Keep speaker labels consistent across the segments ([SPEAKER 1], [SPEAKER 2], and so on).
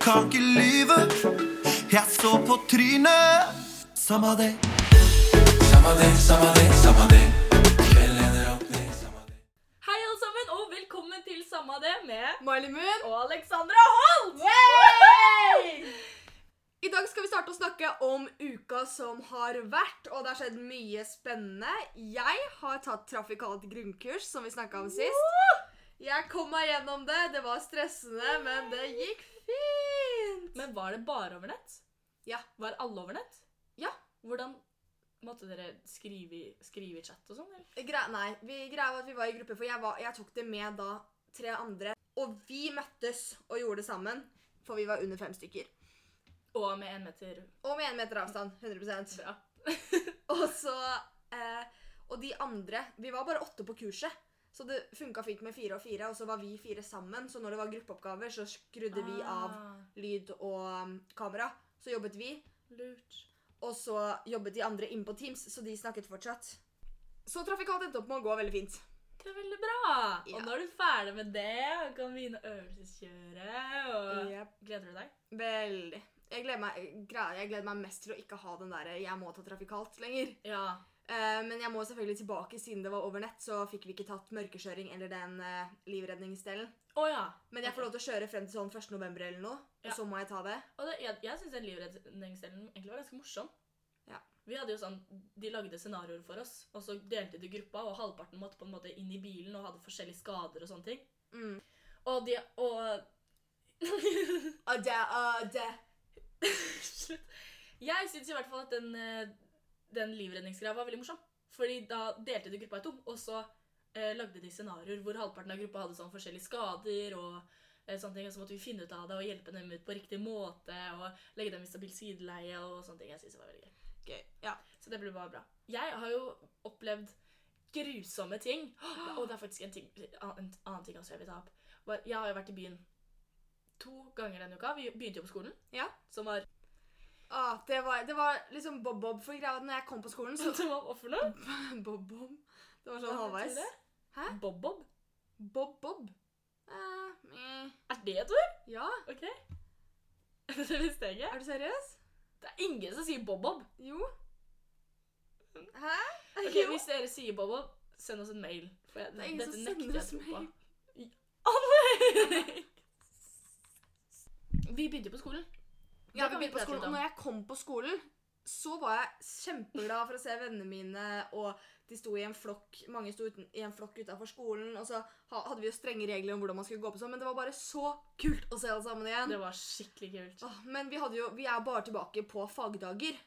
[SPEAKER 1] kan ikke lyve. Jeg så på trynet. Samma det.
[SPEAKER 2] Samme det, samme det, samme det. Kvelden ender opp ned, samme det.
[SPEAKER 3] Hei alle sammen, og velkommen til Samma det med
[SPEAKER 4] Miley Moon.
[SPEAKER 3] og Alexandra Holt!
[SPEAKER 4] I dag skal vi starte å snakke om uka som har vært, og det har skjedd mye spennende. Jeg har tatt trafikalt grunnkurs, som vi snakka om sist. Jeg kom meg gjennom det. Det var stressende, men det gikk fint.
[SPEAKER 3] Men var det bare over nett?
[SPEAKER 4] Ja.
[SPEAKER 3] Var alle over nett?
[SPEAKER 4] Ja.
[SPEAKER 3] Hvordan måtte dere skrive, i- skrive i chat og sånn? eller?
[SPEAKER 4] Gre nei, vi greia var at vi var i gruppe, for jeg, var, jeg tok det med da tre andre. Og vi møttes og gjorde det sammen, for vi var under fem stykker.
[SPEAKER 3] Og med en meter
[SPEAKER 4] Og med én meter avstand. 100
[SPEAKER 3] bra.
[SPEAKER 4] Og så eh, Og de andre Vi var bare åtte på kurset. Så det funka fint med fire og fire, og så var vi fire sammen. Så når det var gruppeoppgaver, så skrudde vi av
[SPEAKER 3] Ah,
[SPEAKER 4] lyd og um, kamera. Så jobbet vi,
[SPEAKER 3] Lurt.
[SPEAKER 4] og så jobbet de andre inn på Teams, så de snakket fortsatt. Så trafikalt endte opp med å gå veldig fint.
[SPEAKER 3] Det er veldig bra.
[SPEAKER 4] Ja.
[SPEAKER 3] Og nå er du ferdig med det og kan begynne øvelseskjøret. Og...
[SPEAKER 4] Jep.
[SPEAKER 3] Gleder du deg?
[SPEAKER 4] Veldig. Jeg gleder, meg, gre- jeg gleder meg mest til å ikke ha den derre 'jeg må ta trafikalt' lenger.
[SPEAKER 3] Ja.
[SPEAKER 4] Eh, men jeg må selvfølgelig tilbake, siden det var over nett, så fikk vi ikke tatt mørkekjøring eller den eh, livredningsdelen.
[SPEAKER 3] Å ja.
[SPEAKER 4] Men jeg får lov til å kjøre frem til sånn 1. november eller noe,
[SPEAKER 3] Ja.
[SPEAKER 4] og så må jeg ta det.
[SPEAKER 3] Og det, jeg jeg syns den livredningsdelen egentlig var ganske morsom.
[SPEAKER 4] Ja.
[SPEAKER 3] Vi hadde jo sånn, De lagde scenarioer for oss, og så delte de gruppa, og halvparten måtte på en måte inn i bilen og hadde forskjellige skader og sånne ting.
[SPEAKER 4] Mm.
[SPEAKER 3] Og de Og
[SPEAKER 4] Adde, adde.
[SPEAKER 3] Slutt. Jeg syns i hvert fall at den, eh, den livredningsgreia var veldig morsom. Fordi da delte de gruppa i to, og så eh, lagde de scenarioer hvor halvparten av gruppa hadde sånn forskjellige skader og eh, sånne ting. Og så måtte vi finne ut av det og hjelpe dem ut på riktig måte og legge dem i stabil sideleie og sånne ting. Jeg synes det var veldig gøy.
[SPEAKER 4] Gøy. Ja.
[SPEAKER 3] Så det ble bare bra. Jeg har jo opplevd grusomme ting. Og det er faktisk en, ting, en annen ting også jeg vil ta opp. Var- Jeg har jo vært i byen to ganger denne uka. Vi begynte jo på skolen,
[SPEAKER 4] Ja.
[SPEAKER 3] som var
[SPEAKER 4] Ah, det, var, det var liksom bob-bob for greia. Når jeg kom på skolen, så
[SPEAKER 3] Som var hva for noe?
[SPEAKER 4] Bob-bob. Det
[SPEAKER 3] Hva
[SPEAKER 4] var sånn
[SPEAKER 3] betyr
[SPEAKER 4] halvveis.
[SPEAKER 3] det?
[SPEAKER 4] Hæ?
[SPEAKER 3] Bob-bob?
[SPEAKER 4] Bob-bob. Eh, eh.
[SPEAKER 3] Mm. Er det et ord?
[SPEAKER 4] ja,
[SPEAKER 3] Ok. Det visste jeg ikke.
[SPEAKER 4] er du seriøs?
[SPEAKER 3] Det er ingen som sier bob-bob.
[SPEAKER 4] Jo. Hæ?
[SPEAKER 3] Ok,
[SPEAKER 4] Jo.
[SPEAKER 3] Hvis dere sier bob-bob, send oss en mail. For jeg,
[SPEAKER 4] Det er ingen
[SPEAKER 3] dette
[SPEAKER 4] som
[SPEAKER 3] nekter
[SPEAKER 4] sender
[SPEAKER 3] jeg
[SPEAKER 4] oss
[SPEAKER 3] tro på.
[SPEAKER 4] mail.
[SPEAKER 3] I- Alle- Vi begynte på skolen. Det
[SPEAKER 4] Ja, vi
[SPEAKER 3] kan vi
[SPEAKER 4] begynte på
[SPEAKER 3] prate
[SPEAKER 4] skolen.
[SPEAKER 3] litt om.
[SPEAKER 4] Og når jeg kom på skolen, så var jeg kjempeglad for å se vennene mine, og de sto i en flokk, mange sto uten, i en flokk utenfor skolen, og så ha, hadde vi jo strenge regler om hvordan man skulle gå på sånn, men det var bare så kult å se alle sammen igjen.
[SPEAKER 3] Det var skikkelig kult.
[SPEAKER 4] Åh, men vi, hadde jo, vi er bare tilbake på fagdager.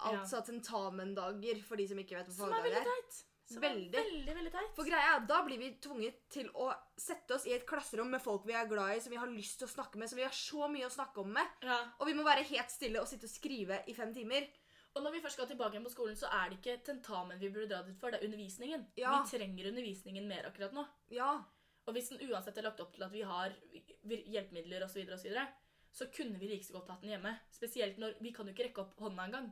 [SPEAKER 3] Ja.
[SPEAKER 4] Altså tentamendager, for de som ikke vet hva
[SPEAKER 3] Som er veldig
[SPEAKER 4] fagdager er.
[SPEAKER 3] teit. Som
[SPEAKER 4] Veldig.
[SPEAKER 3] er veldig, veldig teit.
[SPEAKER 4] For greia er, at Da blir vi tvunget til å sette oss i et klasserom med folk vi er glad i, som vi har lyst til å snakke med, som vi har så mye å snakke om med.
[SPEAKER 3] ja.
[SPEAKER 4] Og vi må være helt stille og sitte og skrive i fem timer.
[SPEAKER 3] Og når vi først skal tilbake igjen på skolen, så er det ikke tentamen vi burde dra dit for, det er undervisningen.
[SPEAKER 4] Ja.
[SPEAKER 3] Vi trenger undervisningen mer akkurat nå.
[SPEAKER 4] Ja.
[SPEAKER 3] Og hvis den uansett er lagt opp til at vi har vir- hjelpemidler osv., så, videre, så kunne vi like så godt hatt den hjemme. Spesielt når vi kan jo ikke rekke opp hånda engang.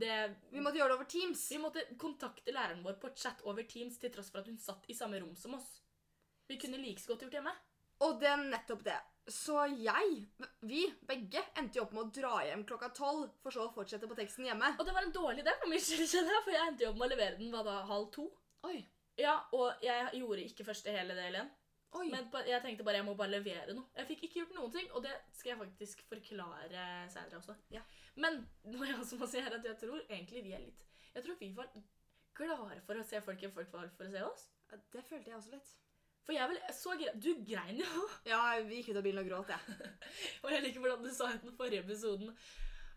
[SPEAKER 3] Det,
[SPEAKER 4] Vi måtte gjøre det over Teams.
[SPEAKER 3] vi måtte kontakte læreren vår på chat over Teams til tross for at hun satt i samme rom som oss. Vi kunne like så godt gjort hjemme.
[SPEAKER 4] Og det er nettopp det. Så jeg, vi begge, endte jo opp med å dra hjem klokka tolv, for så å fortsette på teksten hjemme.
[SPEAKER 3] Og det var en dårlig idé for min skyld, kjenner jeg, for jeg endte jo opp med å levere den hva da, halv to.
[SPEAKER 4] Oi,
[SPEAKER 3] Ja, og jeg gjorde ikke første hele del igjen.
[SPEAKER 4] oi.
[SPEAKER 3] Men på- jeg tenkte bare jeg må bare levere noe. Jeg fikk ikke gjort noen ting, og det skal jeg faktisk forklare senere også.
[SPEAKER 4] Ja.
[SPEAKER 3] Men må jeg også må si her at jeg tror egentlig vi er litt Jeg tror vi var glade for å se folk enn folk var for å se oss.
[SPEAKER 4] det følte jeg også litt.
[SPEAKER 3] For jeg vel så gre Du grein jo.
[SPEAKER 4] Ja, vi gikk ut av bilen og gråt, jeg.
[SPEAKER 3] Og jeg liker hvordan du sa i den forrige episoden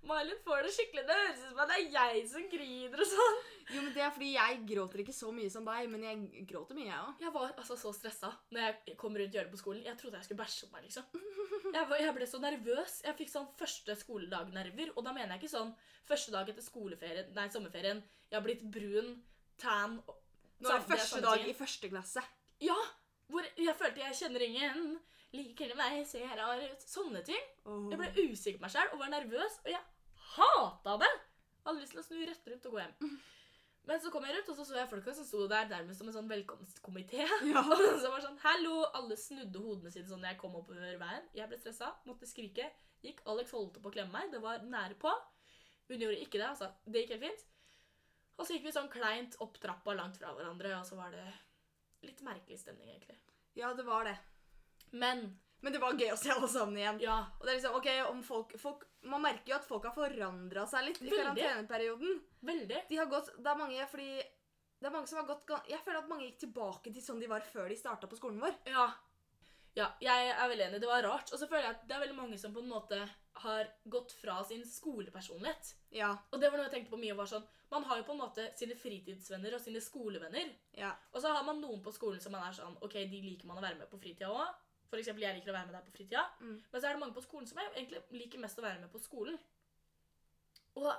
[SPEAKER 3] Malin får det skikkelig Det høres ut som at det er jeg som griner og sånn.
[SPEAKER 4] Jo, men det er fordi jeg gråter ikke så mye som deg, men jeg gråter mye, jeg òg.
[SPEAKER 3] Jeg var altså så stressa når jeg kom rundt hjørnet på skolen. Jeg trodde jeg skulle bæsje på meg, liksom. Jeg, var, jeg ble så nervøs. Jeg fikk sånn første skoledagnerver. Og da mener jeg ikke sånn første dag etter skoleferien, nei, sommerferien. Jeg har blitt brun, tan og-
[SPEAKER 4] Nå er det
[SPEAKER 3] Sam-
[SPEAKER 4] første
[SPEAKER 3] er
[SPEAKER 4] dag i
[SPEAKER 3] samtidig.
[SPEAKER 4] første klasse.
[SPEAKER 3] Ja! Hvor jeg følte jeg kjenner ingen. Liker de meg? Ser jeg rar ut? Sånne ting.
[SPEAKER 4] Åh.
[SPEAKER 3] Jeg ble usikker på meg sjæl og var nervøs, og jeg hata det! Hadde lyst til å snu rett rundt og gå hjem. Men så kom jeg rundt, og så så jeg folka som sto der nærmest som en sånn velkomstkomité.
[SPEAKER 4] Ja.
[SPEAKER 3] Og så var det sånn, hallo, alle snudde hodene sine sånn når jeg kom oppover veien. Jeg ble stressa, måtte skrike. Gikk, Alex holdt på å klemme meg, det var nære på. Hun gjorde ikke det, altså. Det gikk helt fint. Og så gikk vi sånn kleint opp trappa langt fra hverandre, og så var det litt merkelig stemning, egentlig.
[SPEAKER 4] ja, det var det.
[SPEAKER 3] Men
[SPEAKER 4] Men det var gøy å se alle sammen igjen.
[SPEAKER 3] ja,
[SPEAKER 4] Og det er liksom, ok, om folk, folk, Man merker jo at folk har forandra seg litt i
[SPEAKER 3] Veldig.
[SPEAKER 4] karanteneperioden.
[SPEAKER 3] veldig.
[SPEAKER 4] De har gått, det er mange fordi det er mange som har gått, gan- Jeg føler at mange gikk tilbake til sånn de var før de starta på skolen vår.
[SPEAKER 3] Ja. ja. Jeg er veldig enig. Det var rart. Og så føler jeg at det er veldig mange som på en måte har gått fra sin skolepersonlighet.
[SPEAKER 4] Ja,
[SPEAKER 3] Og det var noe jeg tenkte på mye. var sånn, Man har jo på en måte sine fritidsvenner og sine skolevenner.
[SPEAKER 4] ja,
[SPEAKER 3] Og så har man noen på skolen som man er sånn Ok, de liker man å være med på fritida òg. For eksempel, jeg liker å være med deg på fritida.
[SPEAKER 4] Mm.
[SPEAKER 3] Men så er det mange på skolen som jeg egentlig liker mest å være med på skolen. Og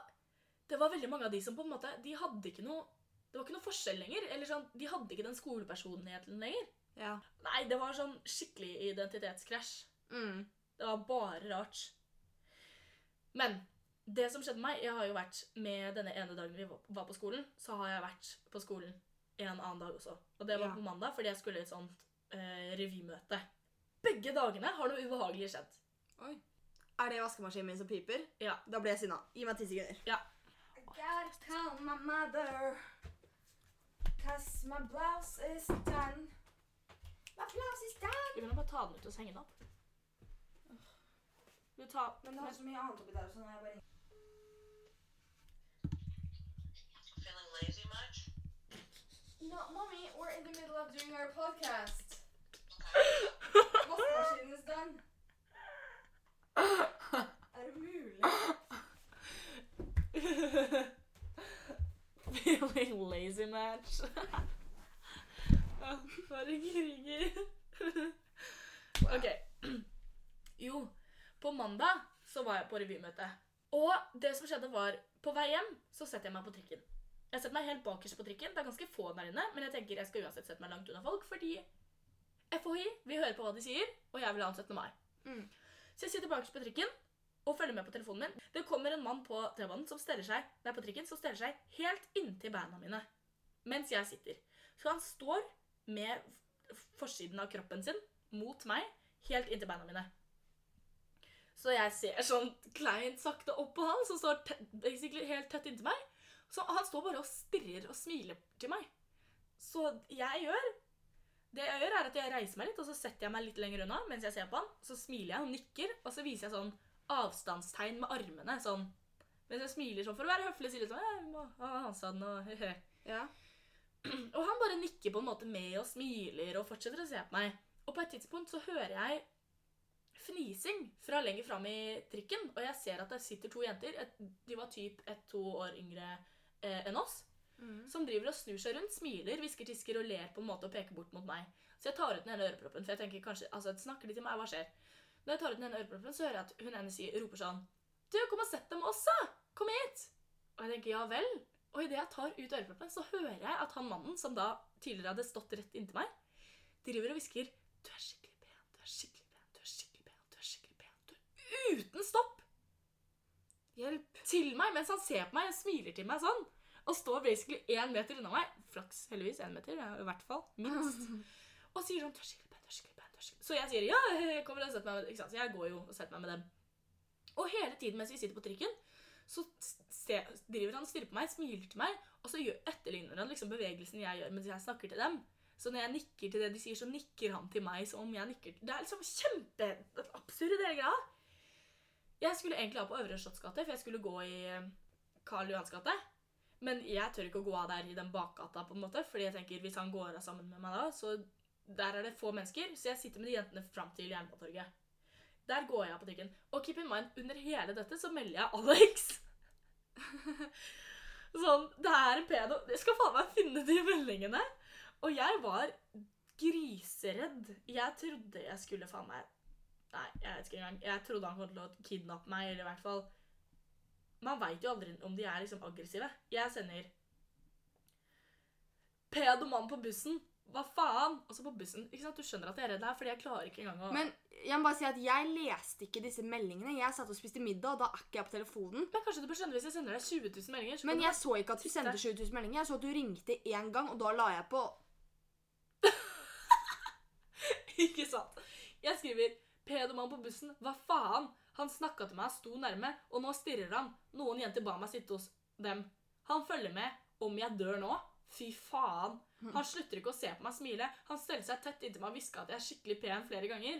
[SPEAKER 3] det var veldig mange av de som på en måte De hadde ikke noe Det var ikke noe forskjell lenger. Eller sånn, De hadde ikke den skolepersonligheten lenger.
[SPEAKER 4] ja.
[SPEAKER 3] Nei, det var sånn skikkelig identitetskrasj.
[SPEAKER 4] Mm.
[SPEAKER 3] Det var bare rart. Men det som skjedde med meg Jeg har jo vært med denne ene dagen vi var- var på skolen, så har jeg vært på skolen en annen dag også. Og det var
[SPEAKER 4] Ja.
[SPEAKER 3] på mandag, fordi jeg skulle i et sånt eh, revymøte. Begge dagene har noe ubehagelig skjedd.
[SPEAKER 4] Er det vaskemaskinen min som piper?
[SPEAKER 3] Ja.
[SPEAKER 4] Da ble jeg sinna. Gi meg ti sekunder.
[SPEAKER 3] Ja.
[SPEAKER 4] I gotta call my mother. Cause my blouse is done. My blouse is done.
[SPEAKER 3] Vi må bare ta den ut og så henge den opp. Du tar
[SPEAKER 4] Men det har så mye annet oppi der, så nå er jeg bare
[SPEAKER 5] Feeling lazy much?
[SPEAKER 4] No, mommy, we're in the middle of doing our podcast.
[SPEAKER 5] Okay.
[SPEAKER 4] Vaskemaskinen is done. Er det mulig?
[SPEAKER 3] Feeling lazy match. Å, Bare kriger. OK. Jo, på mandag så var jeg på revymøte. Og det som skjedde, var På vei hjem så setter jeg meg på trikken. Jeg setter meg helt bakerst på trikken. Det er ganske få der inne, men jeg tenker jeg skal uansett sette meg langt unna folk, fordi FHI vil høre på hva de sier, og jeg vil ha en 17. mai.
[SPEAKER 4] Mm.
[SPEAKER 3] Så jeg sitter bakerst på trikken og følger med på telefonen min. Det kommer en mann på T-banen som steller seg Nei, på trikken som steller seg helt inntil beina mine mens jeg sitter. Så han står med f- forsiden av kroppen sin mot meg helt inntil beina mine. Så jeg ser sånn kleint sakte opp på han, som står te- basically helt tett inntil meg. Så han står bare og stirrer og smiler til meg. Så jeg gjør Det jeg gjør, er at jeg reiser meg litt, og så setter jeg meg litt lenger unna mens jeg ser på han. Så smiler jeg og nikker, og så viser jeg sånn avstandstegn med armene. sånn. Mens jeg smiler sånn for å være høflig og si litt sånn «Ja, må ha Hansan og he-he».
[SPEAKER 4] Ja.
[SPEAKER 3] Og han bare nikker på en måte med og smiler og fortsetter å se på meg. Og på et tidspunkt så hører jeg fnising fra lenger fram i trikken, og jeg ser at der sitter to jenter. Et, de var typ ett-to år yngre eh, enn oss.
[SPEAKER 4] Mm.
[SPEAKER 3] Som driver og snur seg rundt, smiler, hvisker, tisker og ler på en måte og peker bort mot meg. Så jeg tar ut den ene øreproppen, for jeg tenker kanskje altså, Snakker de til meg, hva skjer? Når jeg tar ut den ene øreproppen, så hører jeg at hun ene sier, roper sånn Du, kom og sett deg med oss, da! Kom hit! Og jeg tenker ja vel. Og idet jeg tar ut øreproppen, så hører jeg at han mannen som da tidligere hadde stått rett inntil meg, driver og hvisker Du er skikkelig pen, du er skikkelig pen, du er skikkelig pen, du er skikkelig pen. Du er uten stopp!
[SPEAKER 4] Hjelp.
[SPEAKER 3] til meg mens han ser på meg og smiler til meg sånn. Og står basically én meter unna meg. Flaks, heldigvis. Én meter, ja, i hvert fall. Minst. Og sier sånn «Tørr skilpen, tørr skilpen, tørr skilpen». Så jeg sier ja, jeg kommer og setter meg med ikke sant? Så jeg går jo og setter meg med dem. Og hele tiden mens vi sitter på trikken, så s- se, driver han og stirrer på meg, smiler til meg, og så gjør, etterligner han liksom bevegelsen jeg gjør mens jeg snakker til dem. Så når jeg nikker til det de sier, så nikker han til meg som om jeg nikker til Det er liksom kjempeabsurd, hele greia. Jeg skulle egentlig av på Øvre Slottsgate, for jeg skulle gå i eh, Karl Johans gate. Men jeg tør ikke å gå av der i den bakgata, på en måte, fordi jeg tenker hvis han går av sammen med meg da, så der er det få mennesker, så jeg sitter med de jentene fram til Jernbanetorget. Der går jeg av på trikken. Og keep in mind, under hele dette så melder jeg Alex. sånn, det er en pedo. Jeg skal faen meg finne de meldingene. Og jeg var griseredd. Jeg trodde jeg skulle faen meg Nei, jeg vet ikke engang. Jeg trodde han kom til å kidnappe meg, eller i hvert fall Man veit jo aldri om de er liksom aggressive. Jeg sender Pedomann på bussen. Hva faen? Og så på bussen. ikke sant? Du skjønner at jeg er redd her, fordi jeg klarer ikke engang å
[SPEAKER 4] Men jeg må bare si at jeg leste ikke disse meldingene. Jeg satt og spiste middag, og da er ikke jeg på telefonen.
[SPEAKER 3] Men kanskje du bør skjønne hvis jeg sender deg 20 000 meldinger? så
[SPEAKER 4] Men
[SPEAKER 3] kan
[SPEAKER 4] jeg så ikke at du
[SPEAKER 3] Siste.
[SPEAKER 4] sendte 7000 meldinger. Jeg så at du ringte én gang, og da la jeg på.
[SPEAKER 3] du- Ikke sant? Jeg skriver 'Pedoman på bussen'. Hva faen? Han snakka til meg, sto nærme, og nå stirrer han. Noen jenter ba meg sitte hos dem. Han følger med. Om jeg dør nå? Fy faen. Han slutter ikke å se på meg smile. Han steller seg tett inntil meg og hvisker at jeg er skikkelig pen flere ganger.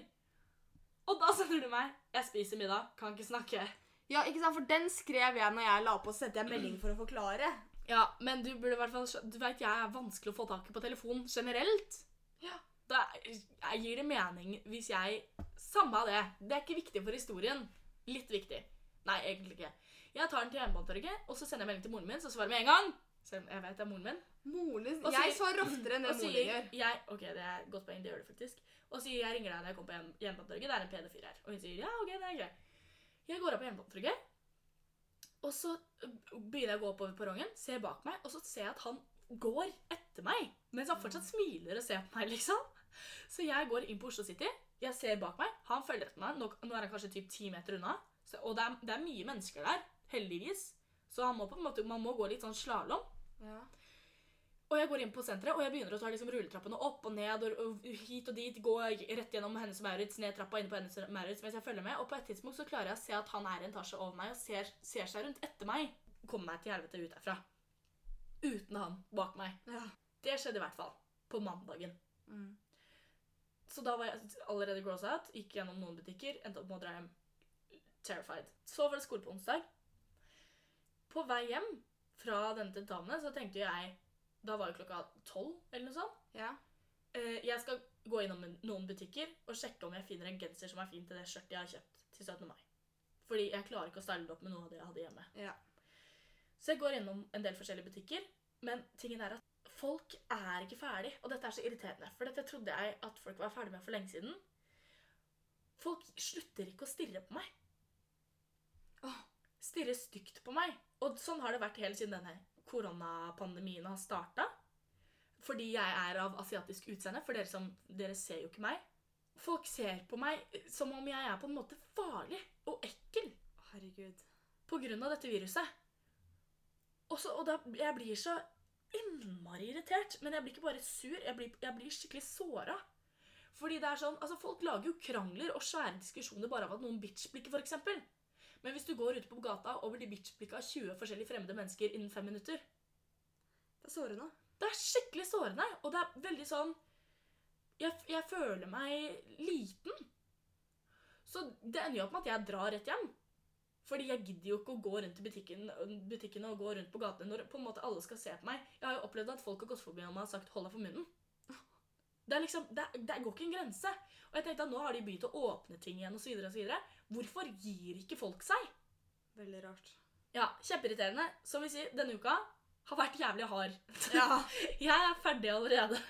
[SPEAKER 3] Og da sender du meg 'Jeg spiser middag, kan ikke snakke'.
[SPEAKER 4] Ja, ikke sant? For den skrev jeg når jeg la på, så sendte jeg melding for å forklare.
[SPEAKER 3] Ja, men du burde i hvert fall skjø- Du vet jeg er vanskelig å få tak i på telefon generelt. Ja. Da jeg gir det mening hvis jeg Samme av det. Det er ikke viktig for historien. Litt viktig. Nei, egentlig ikke. Jeg tar den til Jernbanetorget, og så sender jeg melding til moren min, som svarer med en gang. Selv om jeg vet det er moren min.
[SPEAKER 4] Moren din
[SPEAKER 3] Og
[SPEAKER 4] Jeg
[SPEAKER 3] sier-
[SPEAKER 4] svarer oftere enn det
[SPEAKER 3] Og
[SPEAKER 4] moren din
[SPEAKER 3] sier
[SPEAKER 4] gjør.
[SPEAKER 3] jeg Ok, det er et godt poeng, det gjør du faktisk. Og sier jeg ringer deg når jeg kommer på Jern- Jernbanetorget, det er en PD4 her. Og hun sier ja, ok, det er greit. Jeg går av på Jernbanetorget, og så øh, begynner jeg å gå oppover perrongen, ser bak meg, og så ser jeg at han går etter meg, mens han fortsatt smiler og ser på meg, liksom. Så jeg går inn på Oslo City, jeg ser bak meg, han følger etter meg, nå, nå er han kanskje typ 10 meter unna, så, og det er, det er mye mennesker der, heldigvis. Så han må på en måte, man må gå litt sånn slalom.
[SPEAKER 4] Ja.
[SPEAKER 3] Og jeg går inn på senteret, og jeg begynner å ta liksom rulletrappene opp og ned og, og hit og dit. Gå rett gjennom Hennes og Maurits, ned trappa inne på Hennes og Maurits mens jeg følger med. Og på et tidspunkt så klarer jeg å se at han er en etasje over meg og ser, ser seg rundt etter meg. Kommer meg til helvete ut derfra. Uten han bak meg.
[SPEAKER 4] Ja.
[SPEAKER 3] Det skjedde i hvert fall. På mandagen.
[SPEAKER 4] Mm.
[SPEAKER 3] Så da var jeg allerede gross out, gikk gjennom noen butikker, endte opp med å dra hjem terrified. Så var det skole på onsdag. På vei hjem fra denne tentamene så tenkte jo jeg Da var jo klokka tolv eller noe sånt.
[SPEAKER 4] ja.
[SPEAKER 3] Eh, jeg skal gå innom en- noen butikker og sjekke om jeg finner en genser som er fin til det skjørtet jeg har kjøpt til 17. mai. Fordi jeg klarer ikke å style det opp med noe av det jeg hadde hjemme.
[SPEAKER 4] Ja.
[SPEAKER 3] Så jeg går innom en del forskjellige butikker, men tingen er at folk er ikke ferdig. Og dette er så irriterende, for dette trodde jeg at folk var ferdig med for lenge siden. Folk slutter ikke å stirre på meg. Åh, stirrer stygt på meg. Og sånn har det vært helt siden denne koronapandemien har starta. Fordi jeg er av asiatisk utseende, for dere, som, dere ser jo ikke meg. Folk ser på meg som om jeg er på en måte farlig og ekkel
[SPEAKER 4] Herregud.
[SPEAKER 3] på grunn av dette viruset. Og, så, og da, jeg blir så innmari irritert, men jeg blir ikke bare sur, jeg blir, jeg blir skikkelig såra. Fordi det er sånn, altså Folk lager jo krangler og svære diskusjoner bare av at noen bitchblikker, for eksempel. Men hvis du går ute på gata og blir bitchblikka av 20 forskjellige fremmede mennesker innen fem minutter
[SPEAKER 4] Det er sårende.
[SPEAKER 3] Det er skikkelig sårende, og det er veldig sånn Jeg, jeg føler meg liten. Så det ender jo opp med at jeg drar rett hjem. Fordi jeg gidder jo ikke å gå rundt i butikken, butikken og gå rundt på gatene når på en måte alle skal se på meg. Jeg har jo opplevd at folk har gått forbi meg og sagt 'hold deg for munnen'. Det, er liksom, det, er- det går ikke en grense. Og jeg tenkte at nå har de begynt å åpne ting igjen osv. osv. Hvorfor gir ikke folk seg?
[SPEAKER 4] Veldig rart.
[SPEAKER 3] Ja, Kjempeirriterende. Som vi sier, denne uka har vært jævlig hard.
[SPEAKER 4] Ja.
[SPEAKER 3] Jeg er ferdig allerede.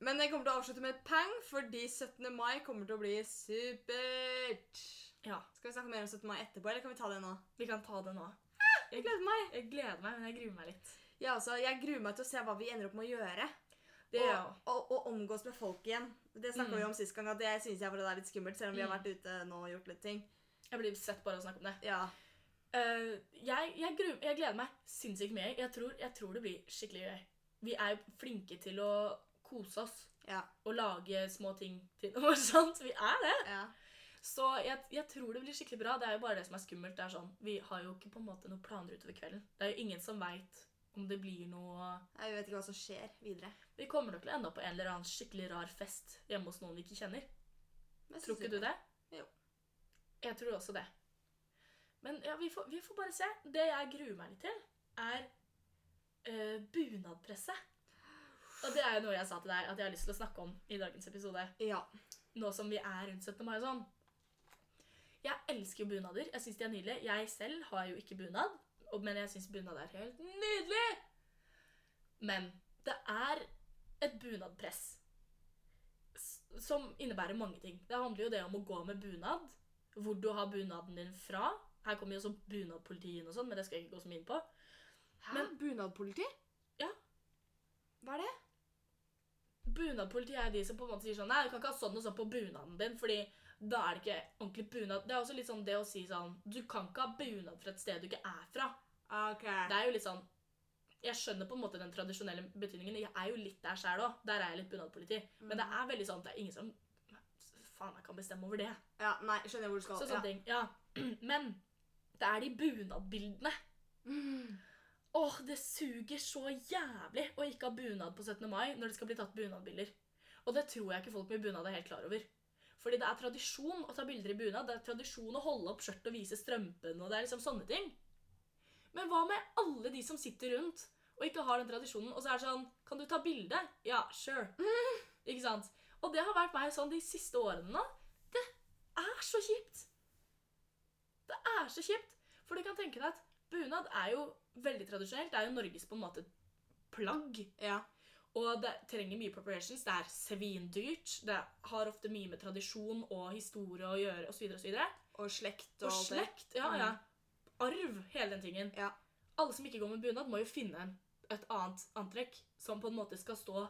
[SPEAKER 4] Men jeg kommer til å avslutte med et pang, fordi 17. mai kommer til å bli supert.
[SPEAKER 3] Ja,
[SPEAKER 4] Skal vi snakke mer om 17. mai etterpå, eller kan vi ta det nå?
[SPEAKER 3] vi kan ta det nå.
[SPEAKER 4] Jeg gleder meg.
[SPEAKER 3] Jeg gleder meg, men jeg gruer meg litt.
[SPEAKER 4] Ja, altså, jeg gruer meg til å se hva vi ender opp med å gjøre.
[SPEAKER 3] Det gjør jeg
[SPEAKER 4] og,
[SPEAKER 3] også.
[SPEAKER 4] og, og omgås med folk igjen. Det snakka vi om sist gang, at det syns jeg var det er litt skummelt, selv om vi har
[SPEAKER 3] Mm.
[SPEAKER 4] vært ute nå og gjort litt ting.
[SPEAKER 3] Jeg blir svett bare av å snakke om det.
[SPEAKER 4] Ja.
[SPEAKER 3] Eh, jeg, jeg, gruer, jeg gleder meg sinnssykt mye. Jeg tror, jeg tror det blir skikkelig gøy. Vi er jo flinke til å kose oss
[SPEAKER 4] Ja.
[SPEAKER 3] og lage små ting til noe sånt. Vi er det.
[SPEAKER 4] ja.
[SPEAKER 3] Så jeg, jeg tror det blir skikkelig bra. Det er jo bare det som er skummelt. Det er sånn, Vi har jo ikke på en måte noen planer utover kvelden. Det er jo ingen som veit om det blir noe
[SPEAKER 4] Jeg vet ikke hva som skjer videre.
[SPEAKER 3] Vi kommer nok til å ende opp på en eller annen skikkelig rar fest hjemme hos noen vi ikke kjenner.
[SPEAKER 4] Men jeg
[SPEAKER 3] Tror
[SPEAKER 4] synes
[SPEAKER 3] ikke du det?
[SPEAKER 4] Jo.
[SPEAKER 3] Jeg tror også det. Men ja, vi, får, vi får bare se. Det jeg gruer meg litt til, er eh, bunadpresse. Og det er jo noe jeg sa til deg at jeg har lyst til å snakke om i dagens episode.
[SPEAKER 4] Ja.
[SPEAKER 3] Nå som vi er rundt 17. mai og sånn. Jeg elsker jo bunader. Jeg syns de er nydelige. Jeg selv har jo ikke bunad, og- men jeg syns bunad er helt nydelig. Men det er et bunadpress s- som innebærer mange ting. Det handler jo det om å gå med bunad, hvor du har bunaden din fra. Her kommer jo også bunadpolitiet inn og sånn, men det skal jeg ikke gå så mye inn på.
[SPEAKER 4] Men bunadpoliti?
[SPEAKER 3] Ja.
[SPEAKER 4] Hva er det?
[SPEAKER 3] Bunadpolitiet er de som på en måte sier sånn Nei, du kan ikke ha sånn og sånn på bunaden din, fordi da er det ikke ordentlig bunad. Det er også litt sånn det å si sånn Du kan ikke ha bunad fra et sted du ikke er fra.
[SPEAKER 4] Ah, Ok.
[SPEAKER 3] Det er jo litt sånn Jeg skjønner på en måte den tradisjonelle betydningen. Jeg er jo litt der sjæl òg. Der er jeg litt bunadpoliti. Men det er veldig sånn at det er ingen som Faen, jeg kan bestemme over det.
[SPEAKER 4] Ja, nei, skjønner jeg hvor du skal.
[SPEAKER 3] Så sånne ting. Ja. Men det er de bunadbildene.
[SPEAKER 4] Mm.
[SPEAKER 3] Åh, det suger så jævlig å ikke ha bunad på 17. mai når det skal bli tatt bunadbilder. Og det tror jeg ikke folk med bunad er helt klar over. Fordi det er tradisjon å ta bilder i bunad, det er tradisjon å holde opp skjørt og vise strømpen, og det er liksom sånne ting. Men hva med alle de som sitter rundt og ikke har den tradisjonen, og så er det sånn Kan du ta bilde? Ja, sure. Ikke sant? Og det har vært meg sånn de siste årene nå. Det er så kjipt! Det er så kjipt! For du kan tenke deg at bunad er jo veldig tradisjonelt. Det er jo Norges på en måte plagg.
[SPEAKER 4] Ja.
[SPEAKER 3] Og det trenger mye preparations. Det er svindyrt. Det har ofte mye med tradisjon og historie å gjøre osv. Og, så videre.
[SPEAKER 4] Og slekt
[SPEAKER 3] og
[SPEAKER 4] og, alt det.
[SPEAKER 3] slekt. Ja, ja. Arv, hele den tingen.
[SPEAKER 4] Ja.
[SPEAKER 3] Alle som ikke går med bunad, må jo finne en, et annet antrekk som på en måte skal stå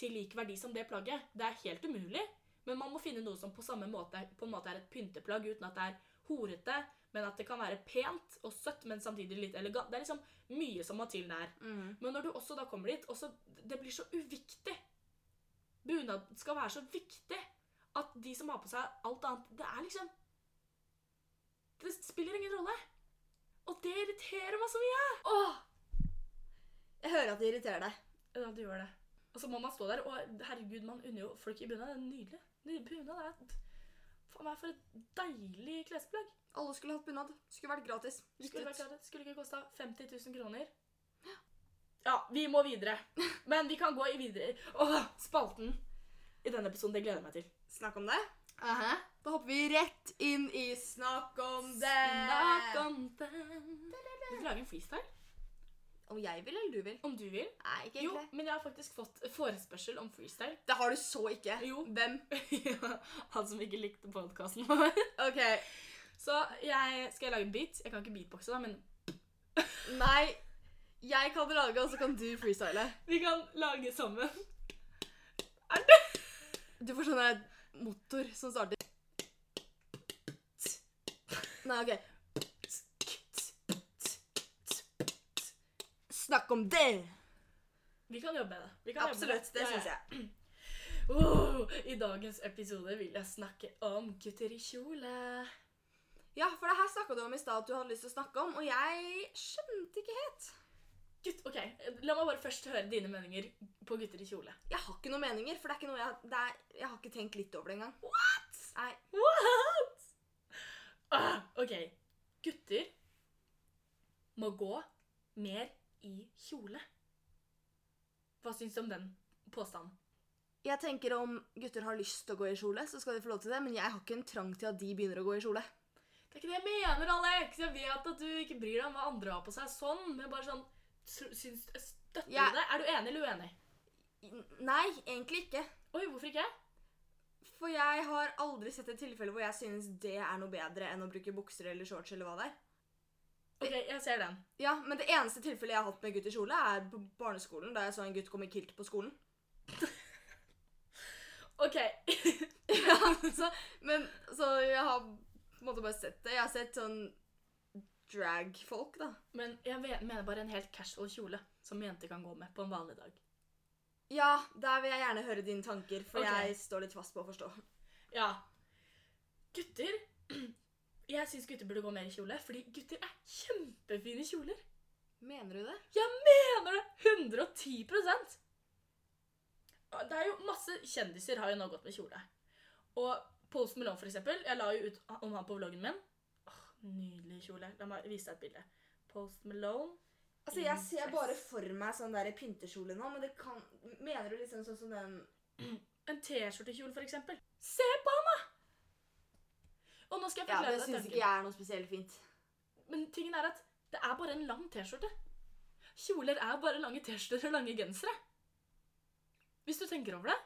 [SPEAKER 3] til lik verdi som det plagget. Det er helt umulig, men man må finne noe som på samme måte på en måte er et pynteplagg, uten at det er horete, men at det kan være pent og søtt, men samtidig litt elegant. Det er liksom mye som må til der.
[SPEAKER 4] Mm.
[SPEAKER 3] Men når du også da kommer dit også, Det blir så uviktig. Bunad skal være så viktig at de som har på seg alt annet Det er liksom Det spiller ingen rolle. Og det irriterer meg så mye. Åh,
[SPEAKER 4] Jeg hører at det irriterer deg.
[SPEAKER 3] ja, det gjør det. Og så må man stå der, og herregud, man unner jo folk i bunad. Det er nydelig. Nydelig Bunad er faen meg for et deilig klesplagg.
[SPEAKER 4] Alle skulle hatt bunad. Skulle vært gratis. Gitt
[SPEAKER 3] Skulle,
[SPEAKER 4] ut.
[SPEAKER 3] vært klart det. skulle ikke kosta 50 000 kroner. Ja, vi må videre. Men vi kan gå i videre. Åh, spalten i denne episoden. Det gleder jeg meg til.
[SPEAKER 4] Snakk om det. Da hopper vi rett inn i Snakk om det.
[SPEAKER 3] Snakk om den. Vil du lage en freestyle?
[SPEAKER 4] Om jeg vil, eller du vil?
[SPEAKER 3] Om du vil.
[SPEAKER 4] Nei, ikke
[SPEAKER 3] Jo, men jeg har faktisk fått forespørsel om freestyle.
[SPEAKER 4] Det har du så ikke.
[SPEAKER 3] Jo.
[SPEAKER 4] Hvem?
[SPEAKER 3] Han som ikke likte podkasten vår.
[SPEAKER 4] Ok.
[SPEAKER 3] Så jeg, skal jeg lage en beat? Jeg kan ikke beatboxe, da, men
[SPEAKER 4] Nei. Jeg kan lage, og så kan du freestyle.
[SPEAKER 3] vi kan lage sammen.
[SPEAKER 4] Du får sånn der motor som starter Nei, OK. Snakk om det!
[SPEAKER 3] Vi kan jobbe med det. Vi kan jobbe med
[SPEAKER 4] Absolutt. Det syns jeg.
[SPEAKER 3] Oh, I dagens episode vil jeg snakke om gutter i kjole.
[SPEAKER 4] Ja, for det her snakka du om i stad at du hadde lyst til å snakke om, og jeg skjønte ikke helt.
[SPEAKER 3] Gutt, ok, La meg bare først høre dine meninger på gutter i kjole.
[SPEAKER 4] Jeg har ikke noen meninger, for det er ikke noe jeg det er, Jeg har ikke tenkt litt over det engang. Nei.
[SPEAKER 3] What? Ah, ok, gutter må gå mer i kjole. Hva syns du om den påstanden?
[SPEAKER 4] Jeg tenker om gutter har lyst til å gå i kjole, så skal de få lov til det, men jeg har ikke en trang til at de begynner å gå i kjole.
[SPEAKER 3] Det er ikke det jeg mener, Alex. Jeg vet at du ikke bryr deg om hva andre har på seg. sånn, Men bare sånn tr- syns, Støtter du
[SPEAKER 4] Ja.
[SPEAKER 3] det? Er du enig eller uenig?
[SPEAKER 4] Nei, egentlig ikke.
[SPEAKER 3] Oi, hvorfor ikke?
[SPEAKER 4] For jeg har aldri sett et tilfelle hvor jeg synes det er noe bedre enn å bruke bukser eller shorts eller hva det er.
[SPEAKER 3] Ok, jeg ser den.
[SPEAKER 4] Ja, men det eneste tilfellet jeg har hatt med gutt i kjole, er på barneskolen, da jeg så en gutt komme i kilt på skolen.
[SPEAKER 3] Ok.
[SPEAKER 4] ja, så, men så jeg har på en måte bare sett det. Jeg har sett sånn drag-folk, da.
[SPEAKER 3] Men jeg ve- mener bare en helt casual kjole som jenter kan gå med på en vanlig dag.
[SPEAKER 4] Ja, der vil jeg gjerne høre dine tanker, for
[SPEAKER 3] Ok.
[SPEAKER 4] jeg står litt fast på å forstå.
[SPEAKER 3] Ja. Gutter Jeg syns gutter burde gå mer i kjole, fordi gutter er kjempefine i kjoler.
[SPEAKER 4] Mener du det?
[SPEAKER 3] Mener det 110 Og Det er jo masse kjendiser har jo nå gått med kjole. Og Post Malone, for eksempel. Jeg la jo ut om han på vloggen min. Åh, Nydelig kjole. La meg vise deg et bilde. Post Malone.
[SPEAKER 4] Altså, jeg ser bare for meg sånn der pyntekjole nå, men det kan Mener du liksom sånn som den
[SPEAKER 3] En T-skjortekjole, for eksempel. Se på han, da! Og nå skal jeg
[SPEAKER 4] Ja, det
[SPEAKER 3] forklare deg
[SPEAKER 4] syns
[SPEAKER 3] tanken.
[SPEAKER 4] ikke jeg er noe spesielt fint.
[SPEAKER 3] Men tingen er at det er bare en lang T-skjorte. Kjoler er bare lange T-skjorter og lange gensere. Hvis du tenker over det.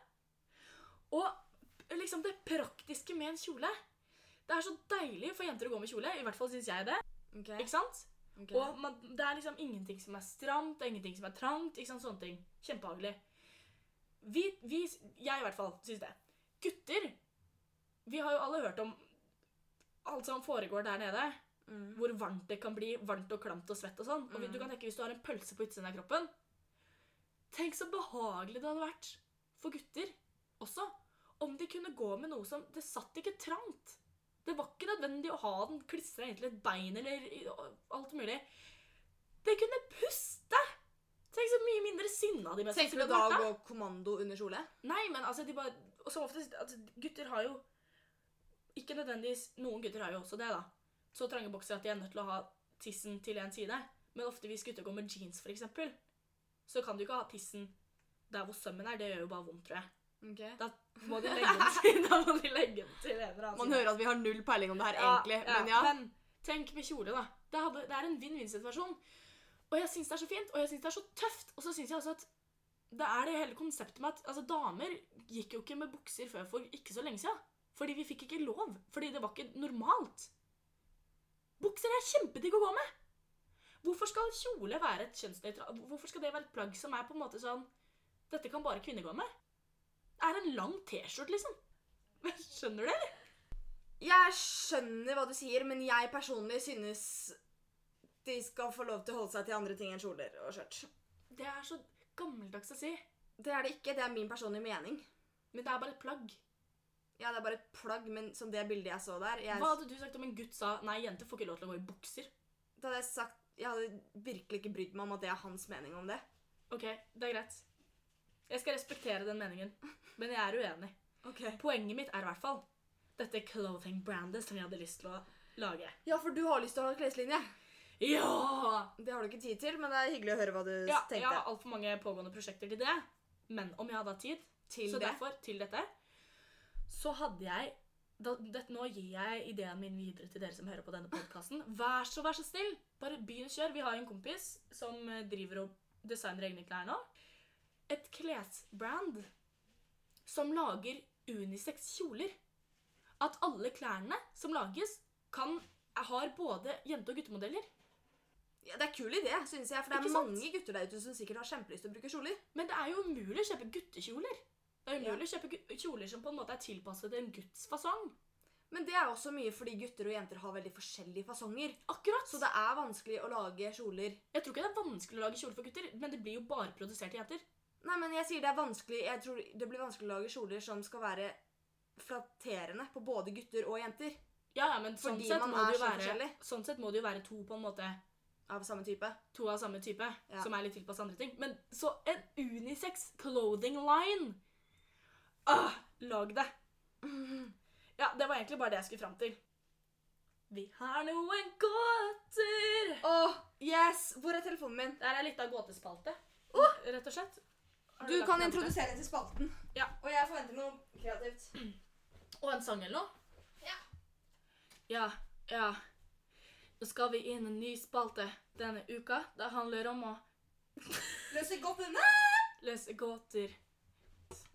[SPEAKER 3] Og liksom det praktiske med en kjole. Det er så deilig for jenter å gå med kjole. I hvert fall syns jeg det.
[SPEAKER 4] Ok,
[SPEAKER 3] ikke sant?
[SPEAKER 4] ok.
[SPEAKER 3] Og man, det er liksom ingenting som er stramt, det er ingenting som er trangt. ikke sant, sånne ting. Kjempehagelig. Vi, vi, jeg i hvert fall, syns det. Gutter Vi har jo alle hørt om alt som foregår der nede.
[SPEAKER 4] Mm.
[SPEAKER 3] Hvor varmt det kan bli. Varmt og klamt og svett og sånn. Og vi- du kan tenke Hvis du har en pølse på utsiden av kroppen Tenk så behagelig det hadde vært for gutter også om de kunne gå med noe som Det satt ikke trangt. Det var ikke nødvendig å ha den klistra inntil et bein eller i- og alt mulig. Det kunne puste! Tenk så mye mindre sinna de mest
[SPEAKER 4] Tenker du da å gå kommando under kjole?
[SPEAKER 3] Nei, men altså, de bare Og som oftest altså, Gutter har jo Ikke nødvendigvis Noen gutter har jo også det, da. Så trange bokser at de er nødt til å ha tissen til en side. Men ofte hvis gutter går med jeans, f.eks., så kan du ikke ha tissen der hvor sømmen er. Det gjør jo bare vondt, tror jeg. Da må de legge den til, da må de legge den til en eller annen
[SPEAKER 4] Man hører at vi har null peiling om det her,
[SPEAKER 3] Ja,
[SPEAKER 4] egentlig.
[SPEAKER 3] ja,
[SPEAKER 4] Men ja.
[SPEAKER 3] Men tenk med kjole, da. Det, hadde, det er en vinn-vinn-situasjon. Og jeg syns det er så fint, og jeg syns det er så tøft. Og så syns jeg også at det er det hele konseptet med at altså, damer gikk jo ikke med bukser før for ikke så lenge siden. Fordi vi fikk ikke lov. Fordi det var ikke normalt. Bukser er kjempedigg å gå med! Hvorfor skal kjole være et kjønnsnøytralt Hvorfor skal det være et plagg som er på en måte sånn Dette kan bare kvinner gå med? Det er en lang T-skjorte, liksom. Skjønner du, eller?
[SPEAKER 4] Jeg skjønner hva du sier, men jeg personlig synes de skal få lov til å holde seg til andre ting enn kjoler og skjørt.
[SPEAKER 3] Det er så gammeldags å si.
[SPEAKER 4] Det er det ikke. Det er min personlige mening.
[SPEAKER 3] Men det er bare et plagg.
[SPEAKER 4] Ja, det er bare et plagg, men som det bildet jeg så der jeg,
[SPEAKER 3] Hva hadde du sagt om en gutt sa nei, jenter får ikke lov til å gå i bukser?
[SPEAKER 4] Da hadde jeg sagt Jeg hadde virkelig ikke brydd meg om at det er hans mening om det.
[SPEAKER 3] Ok, det er greit. Jeg skal respektere den meningen, men jeg er uenig.
[SPEAKER 4] Ok.
[SPEAKER 3] Poenget mitt er i hvert fall dette clothing-brandet som jeg hadde lyst til å lage.
[SPEAKER 4] Ja, for du har lyst til å ha en kleslinje.
[SPEAKER 3] Ja!
[SPEAKER 4] Det har du ikke tid til, men det er hyggelig å høre hva du
[SPEAKER 3] ja jeg
[SPEAKER 4] eh, tenkte.
[SPEAKER 3] har altfor mange pågående prosjekter til det. Men om jeg hadde hatt tid,
[SPEAKER 4] Til
[SPEAKER 3] så
[SPEAKER 4] det.
[SPEAKER 3] derfor til dette, så hadde jeg da, det, Nå gir jeg ideen min videre til dere som hører på denne podkasten. Vær så vær så snill, bare begynn å kjøre. Vi har en kompis som eh, driver og designer egne klær nå. Et klesbrand som lager unisex kjoler. At alle klærne som lages, kan, har både jente- og guttemodeller.
[SPEAKER 4] Ja, det er kul idé, synes jeg. For det
[SPEAKER 3] Ikke
[SPEAKER 4] er
[SPEAKER 3] sant?
[SPEAKER 4] mange gutter der ute som sikkert har kjempelyst til å bruke kjoler.
[SPEAKER 3] Men det er jo umulig å kjøpe guttekjoler. Det er umulig
[SPEAKER 4] Ja.
[SPEAKER 3] å kjøpe gu- kjoler som på en måte er tilpasset en gutts fasong.
[SPEAKER 4] Men det er også mye fordi gutter og jenter har veldig forskjellige fasonger.
[SPEAKER 3] Akkurat.
[SPEAKER 4] Så det er vanskelig å lage kjoler
[SPEAKER 3] Jeg tror ikke det er vanskelig å lage kjole for gutter, men det blir jo bare produsert til jenter.
[SPEAKER 4] Nei, men jeg sier det er vanskelig Jeg tror det blir vanskelig å lage kjoler som skal være flatterende på både gutter og jenter
[SPEAKER 3] Ja, ja, men sånn
[SPEAKER 4] Fordi
[SPEAKER 3] sett,
[SPEAKER 4] man
[SPEAKER 3] må
[SPEAKER 4] er
[SPEAKER 3] det jo
[SPEAKER 4] så
[SPEAKER 3] være,
[SPEAKER 4] forskjellig.
[SPEAKER 3] sånn sett må det jo være to på en måte
[SPEAKER 4] av samme type.
[SPEAKER 3] To av samme type,
[SPEAKER 4] Ja.
[SPEAKER 3] som er litt tilpasset andre ting. Men så en unisex clothing line! Åh, lag det! Ja, det var egentlig bare det jeg skulle fram til. Vi har noen gåter!
[SPEAKER 4] Åh, yes! Hvor er telefonen min?
[SPEAKER 3] Det her er litt av gåtespalte, rett og slett. Har
[SPEAKER 4] Du
[SPEAKER 3] lagt
[SPEAKER 4] kan
[SPEAKER 3] den til?
[SPEAKER 4] introdusere til spalten.
[SPEAKER 3] Ja.
[SPEAKER 4] Og jeg forventer noe kreativt.
[SPEAKER 3] Og en sang eller noe? Ja. Ja, ja. Nå skal vi inn en ny spalte denne uka. Det handler om å
[SPEAKER 4] Løser godt denne!
[SPEAKER 3] løse gåter.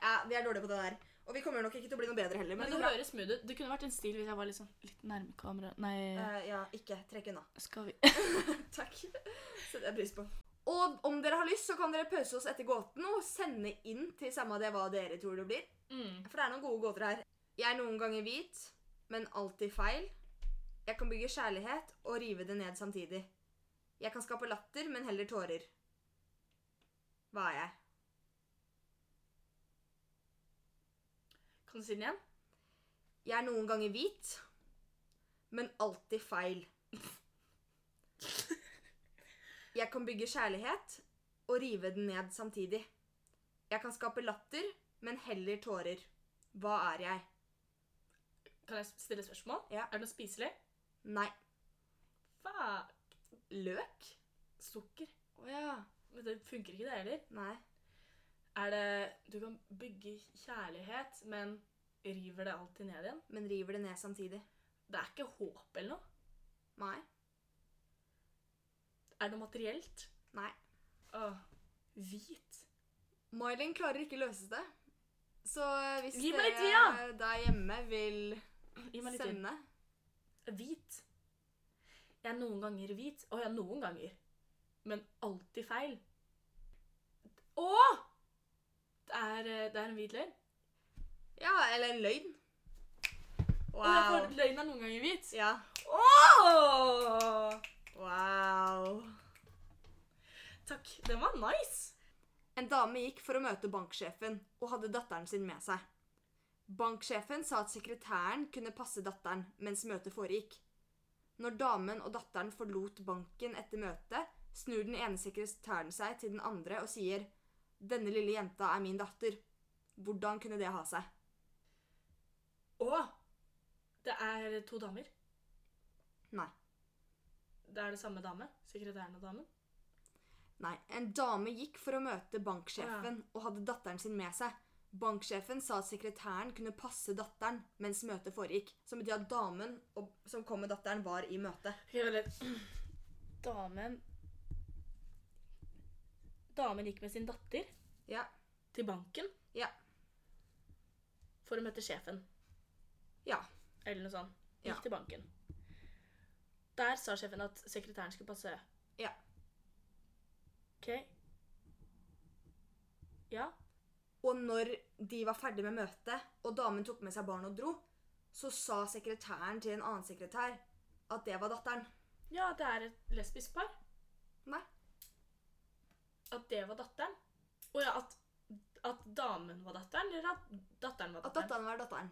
[SPEAKER 4] Ja, vi er dårlige på det der. Og vi kommer nok ikke til å bli noe bedre heller.
[SPEAKER 3] Men
[SPEAKER 4] Men,
[SPEAKER 3] det
[SPEAKER 4] det går bra.
[SPEAKER 3] høres smooth ut. Det kunne vært en stil hvis jeg var litt sånn litt nærme kamera. Nei,
[SPEAKER 4] Eh, ja, ikke. Trekk unna.
[SPEAKER 3] skal vi
[SPEAKER 4] Takk. Setter jeg pris på. Og om dere har lyst, så kan dere pause oss etter gåten og sende inn til samme det hva dere tror det blir.
[SPEAKER 3] mm.
[SPEAKER 4] For det er noen gode gåter her. Jeg er noen ganger hvit, men alltid feil. Jeg kan bygge kjærlighet og rive det ned samtidig. Jeg kan skape latter, men heller tårer. Hva er jeg?
[SPEAKER 3] Kan du si den igjen?
[SPEAKER 4] Jeg er noen ganger hvit, men alltid feil. Jeg kan bygge kjærlighet og rive den ned samtidig. Jeg kan skape latter, men heller tårer. Hva er jeg?
[SPEAKER 3] Kan jeg stille spørsmål?
[SPEAKER 4] Ja.
[SPEAKER 3] Er det noe spiselig?
[SPEAKER 4] Nei.
[SPEAKER 3] Fuck.
[SPEAKER 4] Løk?
[SPEAKER 3] Sukker.
[SPEAKER 4] Å ja.
[SPEAKER 3] Men det funker ikke det heller.
[SPEAKER 4] Nei.
[SPEAKER 3] Er det Du kan bygge kjærlighet, men river det alltid ned igjen?
[SPEAKER 4] Men river det ned samtidig.
[SPEAKER 3] Det er ikke håp eller noe?
[SPEAKER 4] Nei.
[SPEAKER 3] Er det noe materielt?
[SPEAKER 4] Nei.
[SPEAKER 3] Åh, hvit.
[SPEAKER 4] Mylin klarer ikke løse det. Så hvis
[SPEAKER 3] Gi meg litt
[SPEAKER 4] dere der hjemme vil
[SPEAKER 3] Gi meg litt inn.
[SPEAKER 4] sende
[SPEAKER 3] Hvit. Jeg er noen ganger hvit. Å ja, noen ganger. Men alltid feil. Å! Det er, eh, det er en hvit løgn.
[SPEAKER 4] Ja, eller en løgn.
[SPEAKER 3] Og jeg
[SPEAKER 4] Wow.
[SPEAKER 3] får- løgn er noen ganger hvit.
[SPEAKER 4] Ja.
[SPEAKER 3] Åh!
[SPEAKER 4] Wow.
[SPEAKER 3] Takk. Den var nice.
[SPEAKER 4] En dame gikk for å møte banksjefen og hadde datteren sin med seg. Banksjefen sa at sekretæren kunne passe datteren mens møtet foregikk. Når damen og datteren forlot banken etter møtet, snur den ene sekretæren seg til den andre og sier «Denne lille jenta er min datter. Hvordan kunne det ha seg?»
[SPEAKER 3] Åh! Det er to damer.
[SPEAKER 4] Nei.
[SPEAKER 3] Det er det samme dame. Sekretæren og damen.
[SPEAKER 4] Nei, en dame gikk for å møte banksjefen og hadde datteren sin med seg. Banksjefen sa at sekretæren kunne passe datteren mens møtet foregikk. Som betyr at damen og, som kom med datteren, var i møtet.
[SPEAKER 3] Ok, vent litt. Damen Damen gikk med sin datter
[SPEAKER 4] Ja.
[SPEAKER 3] til banken
[SPEAKER 4] Ja.
[SPEAKER 3] for å møte sjefen,
[SPEAKER 4] Ja.
[SPEAKER 3] eller noe sånt. Gikk
[SPEAKER 4] Ja.
[SPEAKER 3] til banken. Der sa sjefen at sekretæren skulle passe.
[SPEAKER 4] Ja.
[SPEAKER 3] OK. Ja.
[SPEAKER 4] Og når de var ferdig med møtet, og damen tok med seg barnet og dro, så sa sekretæren til en annen sekretær at det var datteren.
[SPEAKER 3] Ja, det er et lesbisk par.
[SPEAKER 4] Nei.
[SPEAKER 3] At det var datteren. Og ja, at, at damen var datteren, eller at datteren var
[SPEAKER 4] At
[SPEAKER 3] datteren.
[SPEAKER 4] datteren var datteren.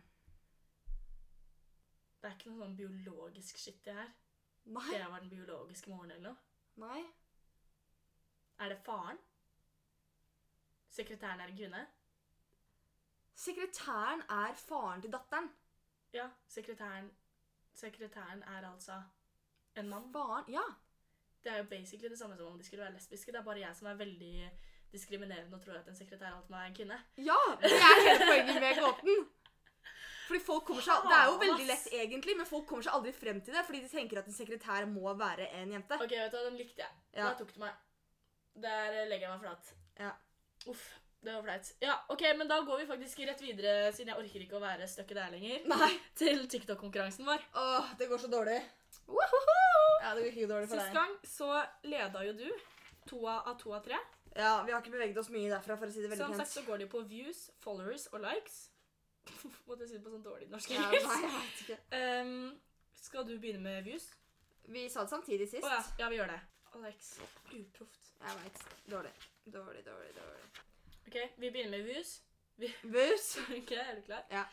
[SPEAKER 3] Det er ikke noe sånn biologisk shit det her.
[SPEAKER 4] Nei.
[SPEAKER 3] Det var den biologiske moren eller noe.
[SPEAKER 4] Nei.
[SPEAKER 3] Er det faren? Sekretæren er en kvinne?
[SPEAKER 4] Sekretæren er faren til datteren.
[SPEAKER 3] Ja, sekretæren Sekretæren er altså en mann.
[SPEAKER 4] Faren Ja.
[SPEAKER 3] Det er jo basically det samme som om de skulle være lesbiske. Det er bare jeg som er veldig diskriminerende og tror at en sekretær alltid må være en kvinne.
[SPEAKER 4] Ja, det er hele poenget med gåten. Fordi folk kommer seg, Det er jo veldig lett, egentlig, men folk kommer seg aldri frem til det. Fordi de tenker at en sekretær må være en jente.
[SPEAKER 3] Ok, vet du hva, den likte jeg.
[SPEAKER 4] Ja.
[SPEAKER 3] Da tok du meg. Der eh, legger jeg meg flat.
[SPEAKER 4] Ja.
[SPEAKER 3] Uff, det var flaut. Ja, ok, men da går vi faktisk rett videre, siden jeg orker ikke å være stuck der lenger,
[SPEAKER 4] Nei.
[SPEAKER 3] til TikTok-konkurransen vår.
[SPEAKER 4] Åh, det går så dårlig. Ja, det går ikke dårlig for
[SPEAKER 3] Sist
[SPEAKER 4] deg.
[SPEAKER 3] gang så leda jo du to av av to av tre.
[SPEAKER 4] Ja, Vi har ikke beveget oss mye derfra, for å si det veldig
[SPEAKER 3] Som sagt
[SPEAKER 4] pent.
[SPEAKER 3] så går det jo på views, followers og likes. Hvorfor Måtte jeg si det på sånn dårlig norsk
[SPEAKER 4] Ja,
[SPEAKER 3] engelsk?
[SPEAKER 4] nei, jeg vet ikke.
[SPEAKER 3] Ehm, skal du begynne med views?
[SPEAKER 4] Vi sa det samtidig
[SPEAKER 3] Å
[SPEAKER 4] sist.
[SPEAKER 3] ja, ja, vi gjør det. Alex. Uproft.
[SPEAKER 4] Jeg vet. Dårlig. Dårlig, dårlig, dårlig.
[SPEAKER 3] OK, vi begynner med views.
[SPEAKER 4] Buss.
[SPEAKER 3] Ok, Er du klar?
[SPEAKER 4] Ja.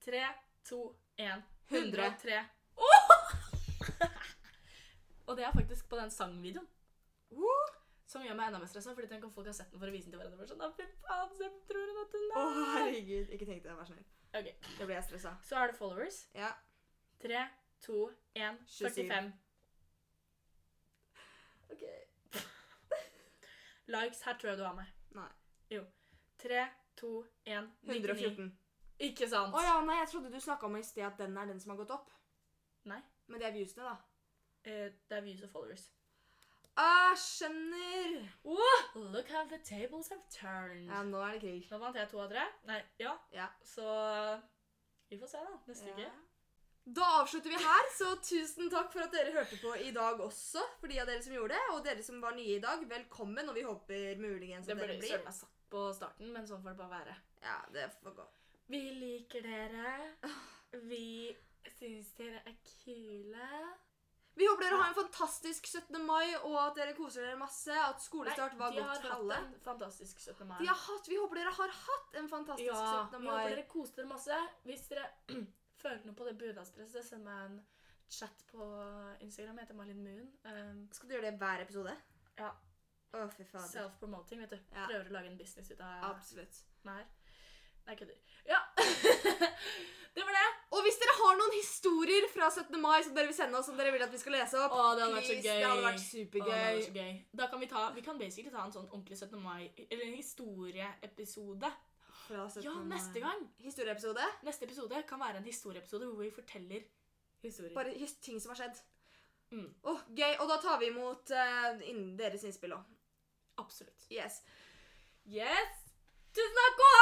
[SPEAKER 3] Tre, to, én.
[SPEAKER 4] Hundre.
[SPEAKER 3] 103. og det er faktisk på den sangvideoen.
[SPEAKER 4] Woo!
[SPEAKER 3] Som gjør meg enda mer stressa, fordi tenk om folk har sett den for å vise den til hverandre. bare Sånn, «Å, fy faen, hvem tror hun at hun
[SPEAKER 4] Å,
[SPEAKER 3] er?
[SPEAKER 4] herregud. Ikke tenk det, vær så snill.
[SPEAKER 3] Ok,
[SPEAKER 4] Da blir jeg stressa.
[SPEAKER 3] Så er det followers.
[SPEAKER 4] Ja.
[SPEAKER 3] 3, 2, 1,
[SPEAKER 4] 27.
[SPEAKER 3] 45.
[SPEAKER 4] Ok.
[SPEAKER 3] Likes. Her tror jeg du har meg.
[SPEAKER 4] Nei.
[SPEAKER 3] Jo. 3, 2, 1, 99.
[SPEAKER 4] 114.
[SPEAKER 3] Ikke sant?
[SPEAKER 4] Å ja, nei, jeg trodde du snakka om i sted at den er den som har gått opp.
[SPEAKER 3] Nei.
[SPEAKER 4] Men det er viewsene, da.
[SPEAKER 3] Eh, det er views og followers.
[SPEAKER 4] Ah, skjønner!
[SPEAKER 3] Look how the tables have turned.
[SPEAKER 4] Ja, nå er det krig.
[SPEAKER 3] Nå vant jeg to av tre. Nei, ja.
[SPEAKER 4] Ja.
[SPEAKER 3] Så vi får se, da. Neste uke.
[SPEAKER 4] Da avslutter vi her, så tusen takk for at dere hørte på i dag også. For de av dere som gjorde det, og dere som var nye i dag, velkommen. Og vi håper muligens
[SPEAKER 3] Det
[SPEAKER 4] at
[SPEAKER 3] burde
[SPEAKER 4] dere
[SPEAKER 3] søren
[SPEAKER 4] blir.
[SPEAKER 3] meg satt på starten, men sånn får det bare være.
[SPEAKER 4] Ja, det får gå.
[SPEAKER 3] Vi liker dere.
[SPEAKER 4] Ah.
[SPEAKER 3] Vi syns dere er kule.
[SPEAKER 4] Vi håper dere har en fantastisk 17. mai, og at dere koser dere masse. At skolestart var
[SPEAKER 3] de har
[SPEAKER 4] godt for
[SPEAKER 3] hatt
[SPEAKER 4] alle.
[SPEAKER 3] en fantastisk 17. mai.
[SPEAKER 4] De har hatt, vi håper dere har hatt en fantastisk
[SPEAKER 3] ja,
[SPEAKER 4] 17.
[SPEAKER 3] vi
[SPEAKER 4] mai.
[SPEAKER 3] håper dere koste dere masse. Hvis dere føler noe på det bunadspresset, send meg en chat på Instagram. Jeg heter Malin Moon. Um,
[SPEAKER 4] Skal du gjøre det hver episode?
[SPEAKER 3] Ja.
[SPEAKER 4] Å, fy fader.
[SPEAKER 3] Self-promoting, vet du.
[SPEAKER 4] Ja.
[SPEAKER 3] Prøver å lage en business ut av
[SPEAKER 4] Absolutt.
[SPEAKER 3] meg her. Nei, kødder. Ja! det var det.
[SPEAKER 4] Og hvis dere har noen historier fra 17. mai som dere vil sende oss, som dere vil at vi skal lese opp,
[SPEAKER 3] Å, det hadde vært så
[SPEAKER 4] please,
[SPEAKER 3] gøy.
[SPEAKER 4] det hadde vært
[SPEAKER 3] Å, det var
[SPEAKER 4] supergøy.
[SPEAKER 3] så gøy. Da kan vi ta Vi kan basically ta en sånn ordentlig 17. mai Eller en historieepisode.
[SPEAKER 4] Fra 17.
[SPEAKER 3] Ja,
[SPEAKER 4] mai.
[SPEAKER 3] neste gang!
[SPEAKER 4] Historieepisode.
[SPEAKER 3] Neste episode kan være en historieepisode hvor vi forteller historier.
[SPEAKER 4] Bare his ting som har skjedd.
[SPEAKER 3] Mm.
[SPEAKER 4] Åh, gøy. Og da tar vi imot eh, inn- deres innspill òg.
[SPEAKER 3] Absolutt.
[SPEAKER 4] Yes.
[SPEAKER 3] Yes! Tusen takk og ha